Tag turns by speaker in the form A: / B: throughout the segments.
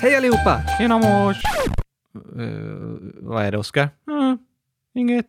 A: Hej allihopa!
B: Tjena mors! Eh, vad är det, Oskar? Mm, inget.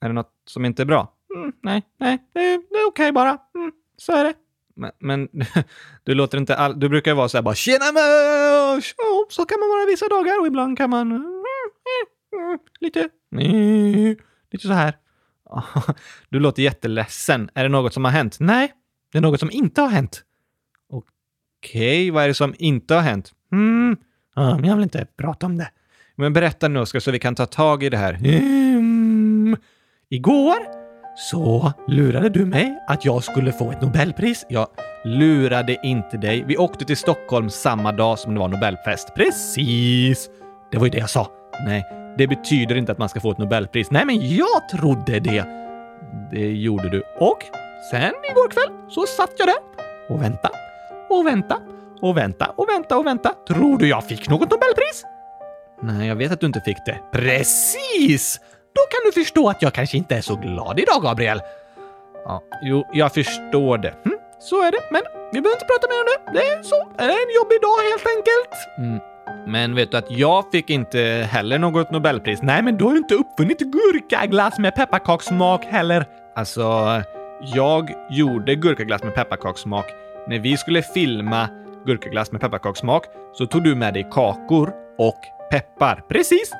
B: Är det något som inte är bra? Mm, nej, nej, det, det är okej bara. Mm, så är det. Men, men du låter inte all... Du brukar ju vara så här bara “Tjena mors!” Ja, Så kan man vara vissa dagar och ibland kan man... mm, eh, mm, Lite... mm, Lite så här. Du låter jätteledsen. Är det något som har hänt? Nej, det är något som inte har hänt. Okej, vad är det som inte har hänt? Mm, ja, men jag vill inte prata om det. Men berätta nu Oskar så vi kan ta tag i det här. Mm. Igår så lurade du mig att jag skulle få ett Nobelpris. Jag lurade inte dig. Vi åkte till Stockholm samma dag som det var Nobelfest. Precis! Det var ju det jag sa. Nej, det betyder inte att man ska få ett Nobelpris. Nej, men jag trodde det. Det gjorde du. Och sen igår kväll så satt jag där och väntade och väntade och väntade och väntade och väntade. Tror du jag fick något Nobelpris? Nej, jag vet att du inte fick det. Precis! Då kan du förstå att jag kanske inte är så glad idag, Gabriel. Ja, jo, jag förstår det. Hm, så är det, men vi behöver inte prata mer om det. Det är så. Det är en jobbig dag helt enkelt. Mm. Men vet du att jag fick inte heller något Nobelpris? Nej, men du har ju inte uppfunnit gurkaglass med pepparkakssmak heller. Alltså, jag gjorde gurkaglass med pepparkakssmak. När vi skulle filma gurkaglass med pepparkakssmak så tog du med dig kakor och peppar. Precis!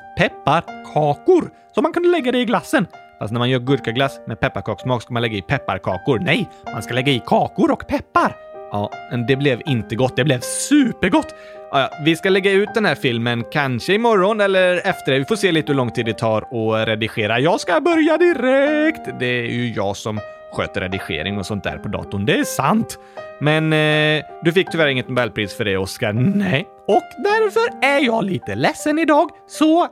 B: Pepparkakor! Som man kunde lägga det i glassen. Fast när man gör gurkaglass med pepparkakssmak ska man lägga i pepparkakor. Nej, man ska lägga i kakor och peppar. Ja, men det blev inte gott. Det blev supergott! Ja, ja, vi ska lägga ut den här filmen kanske imorgon eller efter det. Vi får se lite hur lång tid det tar att redigera. Jag ska börja direkt! Det är ju jag som sköter redigering och sånt där på datorn. Det är sant! Men eh, du fick tyvärr inget Nobelpris för det, Oscar. Nej. Och därför är jag lite ledsen idag, så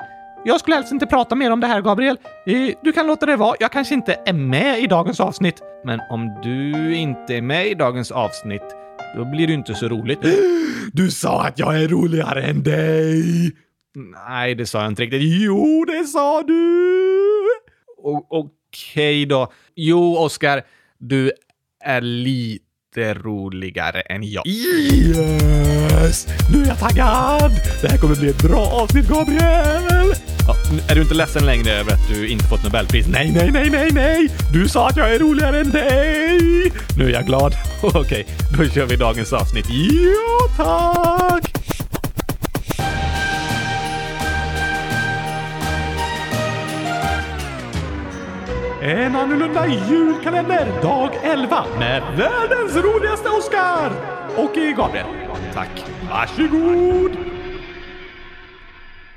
B: jag skulle helst inte prata mer om det här, Gabriel. Eh, Du kan låta det vara. Jag kanske inte är med i dagens avsnitt. Men om du inte är med i dagens avsnitt, då blir det ju inte så roligt. Du sa att jag är roligare än dig! Nej, det sa jag inte riktigt. Jo, det sa du! O- Okej då. Jo, Oskar, du är lite roligare än jag. Yes! Nu är jag taggad! Det här kommer bli ett bra avsnitt, Gabriel! Ja, är du inte ledsen längre över att du inte fått Nobelpris? Nej, nej, nej, nej, nej! Du sa att jag är roligare än dig! Nu är jag glad. Okej, då kör vi dagens avsnitt. Ja, tack! En annorlunda julkalender, dag 11 med världens roligaste Oscar! Och Gabriel. Tack. Varsågod!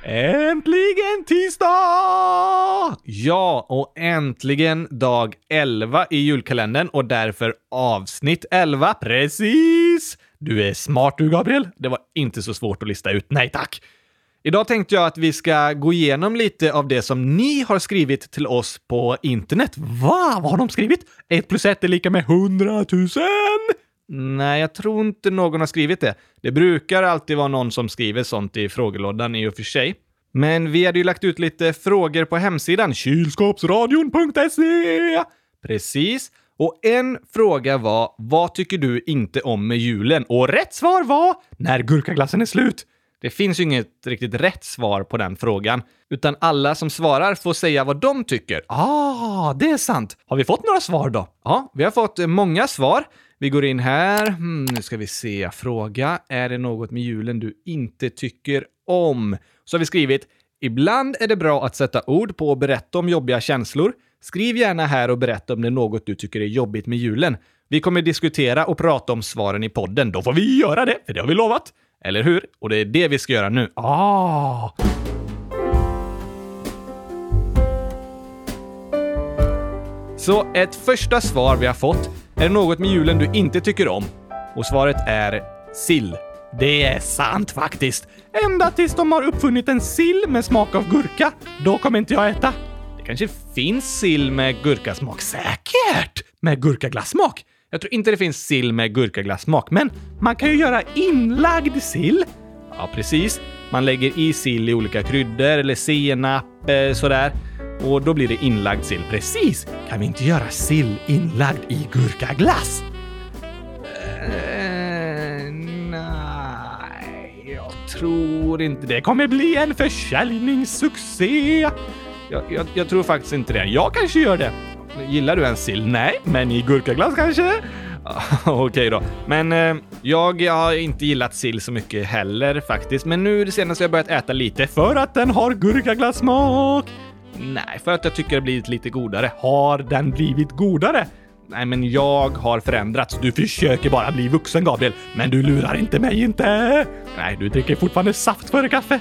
B: Äntligen tisdag! Ja, och äntligen dag 11 i julkalendern och därför avsnitt 11. Precis! Du är smart du, Gabriel. Det var inte så svårt att lista ut. Nej tack! Idag tänkte jag att vi ska gå igenom lite av det som ni har skrivit till oss på internet. Va? Vad har de skrivit? 1 plus 1 är lika med 100 000! Nej, jag tror inte någon har skrivit det. Det brukar alltid vara någon som skriver sånt i frågelådan i och för sig. Men vi hade ju lagt ut lite frågor på hemsidan kylskåpsradion.se. Precis. Och en fråga var Vad tycker du inte om med julen? Och rätt svar var När gurkaglassen är slut. Det finns ju inget riktigt rätt svar på den frågan, utan alla som svarar får säga vad de tycker. Ah, det är sant! Har vi fått några svar då? Ja, vi har fått eh, många svar. Vi går in här. Hmm, nu ska vi se. Fråga. Är det något med julen du inte tycker om? Så har vi skrivit. Ibland är det bra att sätta ord på och berätta om jobbiga känslor. Skriv gärna här och berätta om det är något du tycker är jobbigt med julen. Vi kommer diskutera och prata om svaren i podden. Då får vi göra det, för det har vi lovat. Eller hur? Och det är det vi ska göra nu. Ah! Så ett första svar vi har fått är det något med julen du inte tycker om. Och svaret är sill. Det är sant faktiskt. Ända tills de har uppfunnit en sill med smak av gurka. Då kommer inte jag äta. Det kanske finns sill med gurkasmak. Säkert! Med gurkaglassmak. Jag tror inte det finns sill med gurkaglassmak, men man kan ju göra inlagd sill. Ja, precis. Man lägger i sill i olika kryddor eller senap, eh, sådär. Och då blir det inlagd sill. Precis! Kan vi inte göra sill inlagd i gurkaglass? Eh, nej. jag tror inte det kommer bli en försäljningssuccé. Jag, jag, jag tror faktiskt inte det. Jag kanske gör det. Gillar du en sill? Nej, men i gurkaglass kanske? Okej då. Men eh, jag har inte gillat sill så mycket heller faktiskt. Men nu det senaste har jag börjat äta lite för att den har gurkaglassmak. Nej, för att jag tycker det blivit lite godare. Har den blivit godare? Nej, men jag har förändrats. Du försöker bara bli vuxen, Gabriel. Men du lurar inte mig inte! Nej, du dricker fortfarande saft före kaffe.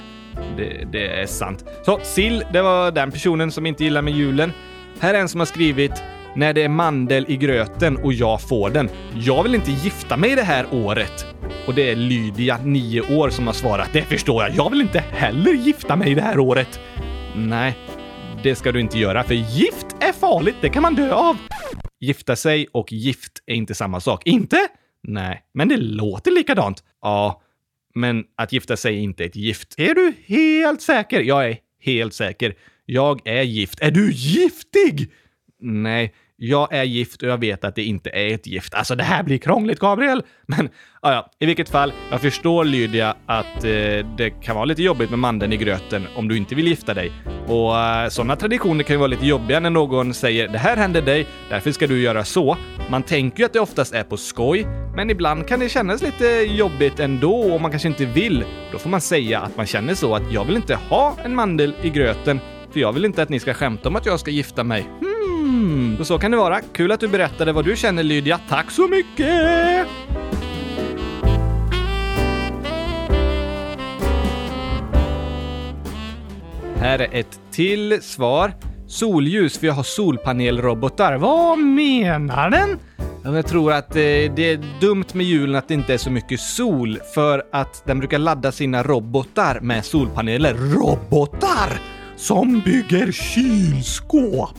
B: Det, det är sant. Så, sill, det var den personen som inte gillar med julen. Här är en som har skrivit “När det är mandel i gröten och jag får den. Jag vill inte gifta mig det här året.” Och det är Lydia, 9 år, som har svarat “Det förstår jag. Jag vill inte heller gifta mig det här året.” Nej, det ska du inte göra, för gift är farligt. Det kan man dö av. Gifta sig och gift är inte samma sak. Inte? Nej, men det låter likadant. Ja, men att gifta sig är inte ett gift. Är du helt säker? Jag är helt säker. Jag är gift. Är du giftig? Nej, jag är gift och jag vet att det inte är ett gift. Alltså, det här blir krångligt, Gabriel! Men ja, ja, i vilket fall, jag förstår Lydia att eh, det kan vara lite jobbigt med mandeln i gröten om du inte vill gifta dig. Och eh, sådana traditioner kan ju vara lite jobbiga när någon säger “det här händer dig, därför ska du göra så”. Man tänker ju att det oftast är på skoj, men ibland kan det kännas lite jobbigt ändå och man kanske inte vill. Då får man säga att man känner så att “jag vill inte ha en mandel i gröten, för jag vill inte att ni ska skämta om att jag ska gifta mig”. Mm, och så kan det vara. Kul att du berättade vad du känner Lydia. Tack så mycket! Här är ett till svar. Solljus, för jag har solpanelrobotar. Vad menar den? Ja, Jag tror att eh, det är dumt med julen att det inte är så mycket sol för att den brukar ladda sina robotar med solpaneler. Robotar! Som bygger kylskåp!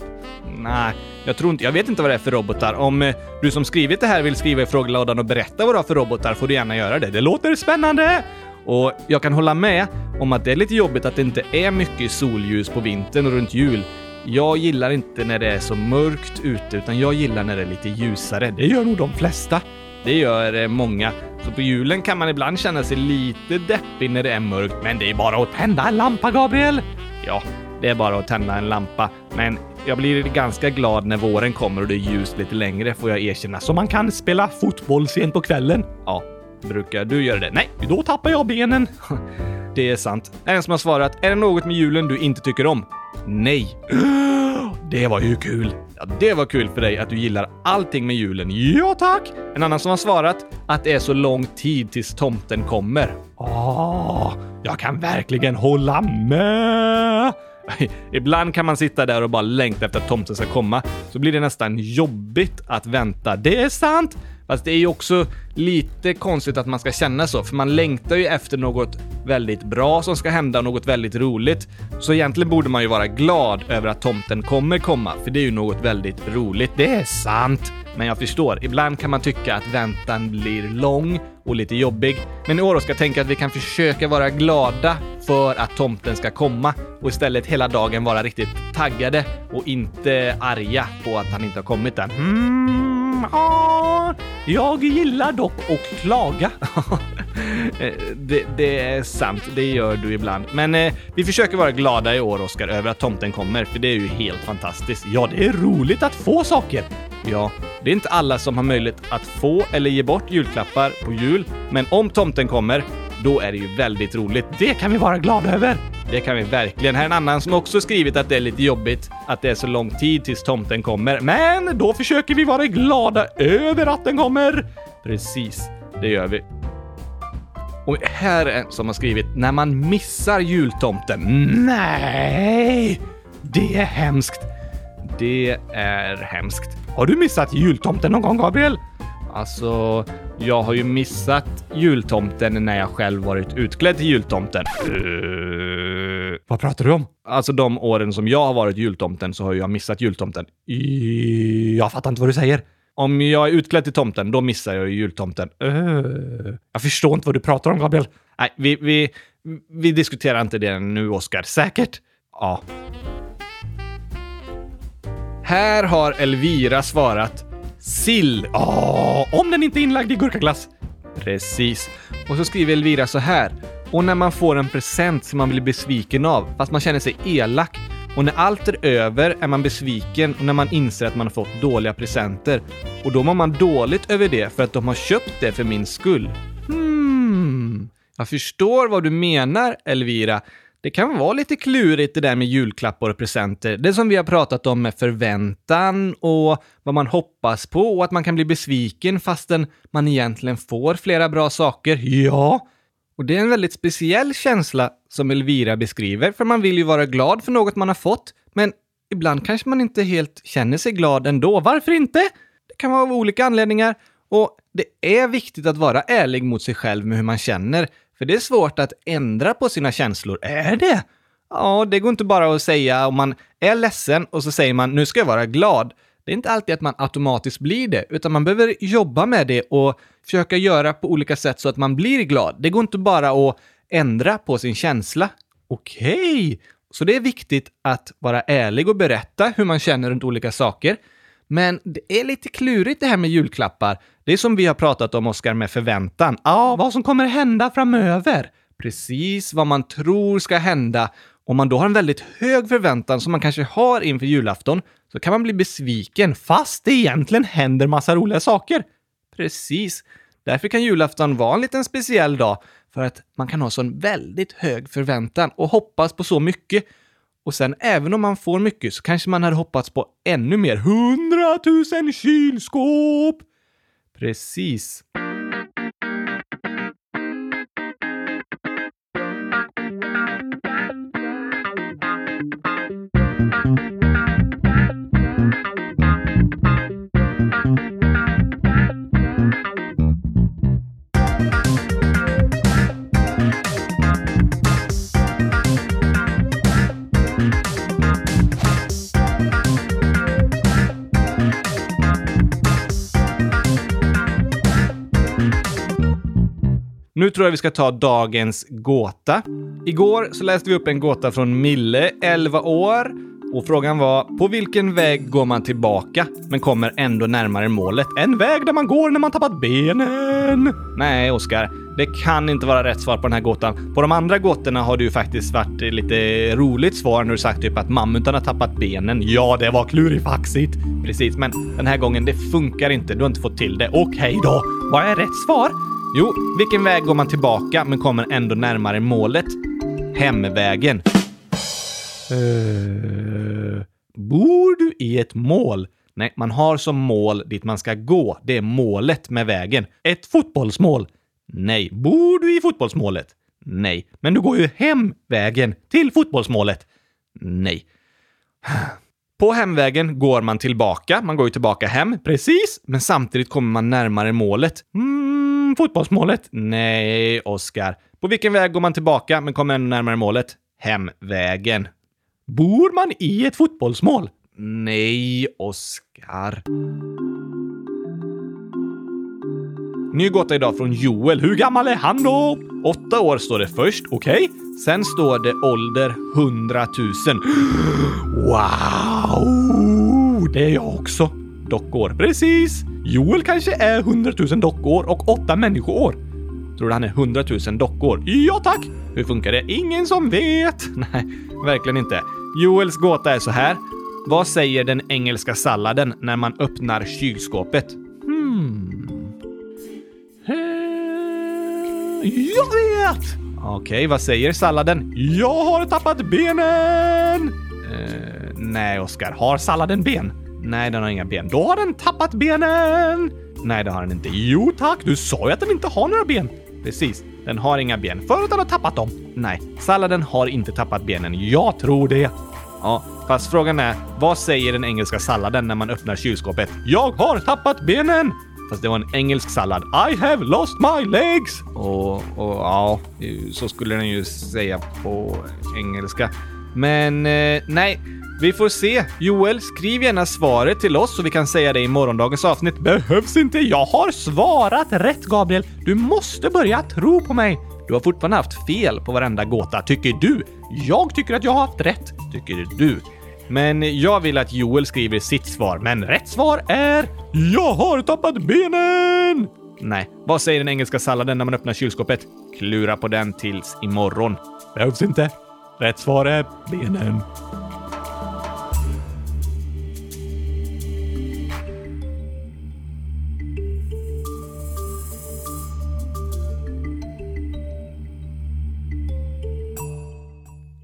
B: Nej, jag tror inte. Jag vet inte vad det är för robotar. Om eh, du som skrivit det här vill skriva i frågelådan och berätta vad du har för robotar får du gärna göra det. Det låter spännande! Och jag kan hålla med om att det är lite jobbigt att det inte är mycket solljus på vintern och runt jul. Jag gillar inte när det är så mörkt ute, utan jag gillar när det är lite ljusare. Det gör nog de flesta. Det gör eh, många. Så på julen kan man ibland känna sig lite deppig när det är mörkt, men det är bara att tända en lampa, Gabriel! Ja, det är bara att tända en lampa, men jag blir ganska glad när våren kommer och det är ljust lite längre, får jag erkänna. Så man kan spela fotboll sent på kvällen. Ja, brukar du göra det? Nej, då tappar jag benen. Det är sant. En som har svarat, är det något med julen du inte tycker om? Nej. Det var ju kul! Ja, det var kul för dig att du gillar allting med julen. Ja, tack! En annan som har svarat att det är så lång tid tills tomten kommer. Åh, jag kan verkligen hålla med! Ibland kan man sitta där och bara längta efter att tomten ska komma, så blir det nästan jobbigt att vänta. Det är sant! Fast det är ju också lite konstigt att man ska känna så, för man längtar ju efter något väldigt bra som ska hända och något väldigt roligt. Så egentligen borde man ju vara glad över att tomten kommer komma, för det är ju något väldigt roligt. Det är sant! Men jag förstår, ibland kan man tycka att väntan blir lång och lite jobbig. Men i år ska jag tänka att vi kan försöka vara glada för att tomten ska komma och istället hela dagen vara riktigt taggade och inte arga på att han inte har kommit än. Mm, ja, jag gillar dock att klaga. Eh, det, det är sant, det gör du ibland. Men eh, vi försöker vara glada i år, Oskar, över att tomten kommer, för det är ju helt fantastiskt. Ja, det är roligt att få saker. Ja, det är inte alla som har möjlighet att få eller ge bort julklappar på jul, men om tomten kommer, då är det ju väldigt roligt. Det kan vi vara glada över! Det kan vi verkligen. Här är en annan som också skrivit att det är lite jobbigt att det är så lång tid tills tomten kommer, men då försöker vi vara glada över att den kommer! Precis, det gör vi. Och här är en som har skrivit “När man missar jultomten”. Nej! Det är hemskt. Det är hemskt. Har du missat jultomten någon gång, Gabriel? Alltså, jag har ju missat jultomten när jag själv varit utklädd till jultomten. Eh, vad pratar du om? Alltså de åren som jag har varit jultomten så har jag missat jultomten. I- Jag fattar inte vad du säger. Om jag är utklädd till tomten, då missar jag ju jultomten. Eh, jag förstår inte vad du pratar om, Gabriel. Nej, vi, vi, vi diskuterar inte det nu, Oskar. Säkert? Ja, här har Elvira svarat sill. Åh, om den inte är inlagd i gurkaglass. Precis. Och så skriver Elvira så här. Och när man får en present som man blir besviken av, fast man känner sig elak. Och när allt är över är man besviken och när man inser att man har fått dåliga presenter. Och då mår man dåligt över det för att de har köpt det för min skull. Hmm. Jag förstår vad du menar, Elvira. Det kan vara lite klurigt det där med julklappar och presenter. Det som vi har pratat om med förväntan och vad man hoppas på och att man kan bli besviken fastän man egentligen får flera bra saker. Ja! Och det är en väldigt speciell känsla som Elvira beskriver, för man vill ju vara glad för något man har fått, men ibland kanske man inte helt känner sig glad ändå. Varför inte? Det kan vara av olika anledningar och det är viktigt att vara ärlig mot sig själv med hur man känner, för det är svårt att ändra på sina känslor. Är det? Ja, det går inte bara att säga om man är ledsen och så säger man nu ska jag vara glad. Det är inte alltid att man automatiskt blir det, utan man behöver jobba med det och försöka göra på olika sätt så att man blir glad. Det går inte bara att ändra på sin känsla. Okej! Så det är viktigt att vara ärlig och berätta hur man känner runt olika saker. Men det är lite klurigt det här med julklappar. Det är som vi har pratat om, Oskar, med förväntan. Ja, vad som kommer hända framöver. Precis vad man tror ska hända. Om man då har en väldigt hög förväntan som man kanske har inför julafton så kan man bli besviken fast det egentligen händer massa roliga saker. Precis. Därför kan julafton vara en liten speciell dag för att man kan ha sån väldigt hög förväntan och hoppas på så mycket. Och sen även om man får mycket så kanske man hade hoppats på ännu mer. Hundratusen kylskåp! Precis. Nu tror jag vi ska ta dagens gåta. Igår så läste vi upp en gåta från Mille, 11 år. Och frågan var, på vilken väg går man tillbaka men kommer ändå närmare målet? En väg där man går när man tappat benen! Nej, Oskar. Det kan inte vara rätt svar på den här gåtan. På de andra gåtorna har det ju faktiskt varit lite roligt svar när du sagt typ att mammutan har tappat benen. Ja, det var klurifaxigt! Precis, men den här gången, det funkar inte. Du har inte fått till det. Okej då! Vad är rätt svar? Jo, vilken väg går man tillbaka men kommer ändå närmare målet? Hemvägen. Eh, bor du i ett mål? Nej, man har som mål dit man ska gå. Det är målet med vägen. Ett fotbollsmål? Nej. Bor du i fotbollsmålet? Nej. Men du går ju hem vägen till fotbollsmålet? Nej. På hemvägen går man tillbaka. Man går ju tillbaka hem, precis. Men samtidigt kommer man närmare målet. Mm, fotbollsmålet? Nej, Oskar. På vilken väg går man tillbaka men kommer ändå närmare målet? Hemvägen. Bor man i ett fotbollsmål? Nej, Oskar. Ny gåta idag från Joel. Hur gammal är han då? Åtta år står det först, okej? Sen står det ålder 100 000. Wow! Det är jag också. Dockår. Precis! Joel kanske är 100 000 dockår och åtta människoår. Tror du han är 100 000 dockor? Ja tack! Hur funkar det? Ingen som vet! Nej, verkligen inte. Joels gåta är så här. Vad säger den engelska salladen när man öppnar kylskåpet? Hmm. Eh, Jag vet! Okej, vad säger salladen? Jag har tappat benen! Eh, nej, Oskar. Har salladen ben? Nej, den har inga ben. Då har den tappat benen! Nej, det har den inte. Jo tack, du sa ju att den inte har några ben. Precis, den har inga ben för att den har tappat dem. Nej, salladen har inte tappat benen. Jag tror det. Ja, fast frågan är, vad säger den engelska salladen när man öppnar kylskåpet? Jag har tappat benen! Fast det var en engelsk sallad. I have lost my legs! Och, och ja, så skulle den ju säga på engelska. Men eh, nej, vi får se. Joel, skriv gärna svaret till oss så vi kan säga det i morgondagens avsnitt. Behövs inte, jag har svarat rätt Gabriel. Du måste börja tro på mig. Du har fortfarande haft fel på varenda gåta, tycker du. Jag tycker att jag har haft rätt, tycker du. Men jag vill att Joel skriver sitt svar, men rätt svar är... Jag har tappat benen! Nej. Vad säger den engelska salladen när man öppnar kylskåpet? Klura på den tills imorgon. Behövs inte. Rätt svar är benen.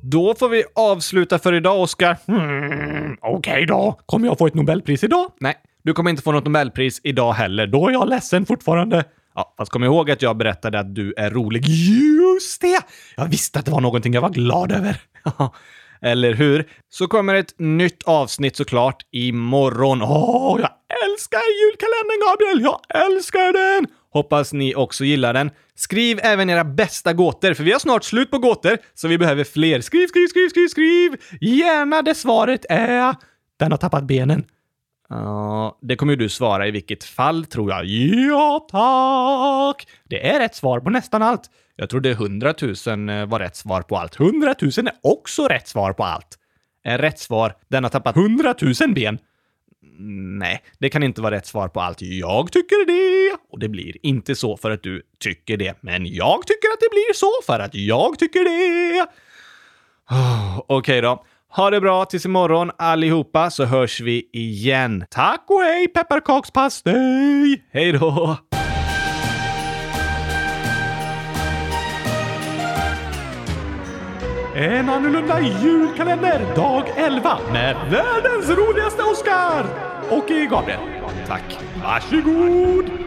B: Då får vi avsluta för idag, Oskar.
A: Mm, Okej då. Kommer jag få ett Nobelpris idag?
B: Nej, du kommer inte få något Nobelpris idag heller. Då
A: Då är jag ledsen fortfarande.
B: Ja, fast kom ihåg att jag berättade att du är rolig.
A: Just det! Jag visste att det var någonting jag var glad över.
B: Eller hur? Så kommer ett nytt avsnitt såklart imorgon.
A: Åh, jag älskar julkalendern, Gabriel! Jag älskar den!
B: Hoppas ni också gillar den. Skriv även era bästa gåtor, för vi har snart slut på gåtor, så vi behöver fler. Skriv, skriv, skriv, skriv, skriv!
A: Gärna det svaret är... Den har tappat benen.
B: Ja, det kommer ju du svara i vilket fall, tror jag.
A: Ja, tack! Det är rätt svar på nästan allt.
B: Jag trodde 100 000 var rätt svar på allt.
A: 100 000 är också rätt svar på allt.
B: Är rätt svar, den har tappat...
A: 100 000 ben.
B: Nej, det kan inte vara rätt svar på allt. Jag tycker det! Och det blir inte så för att du tycker det. Men jag tycker att det blir så för att jag tycker det! Oh, Okej då. Ha det bra tills imorgon allihopa så hörs vi igen. Tack och hej pepparkakspastej! Hej då!
A: En annorlunda julkalender, dag 11, med världens roligaste Oscar! Och Gabriel.
B: Tack.
A: Varsågod!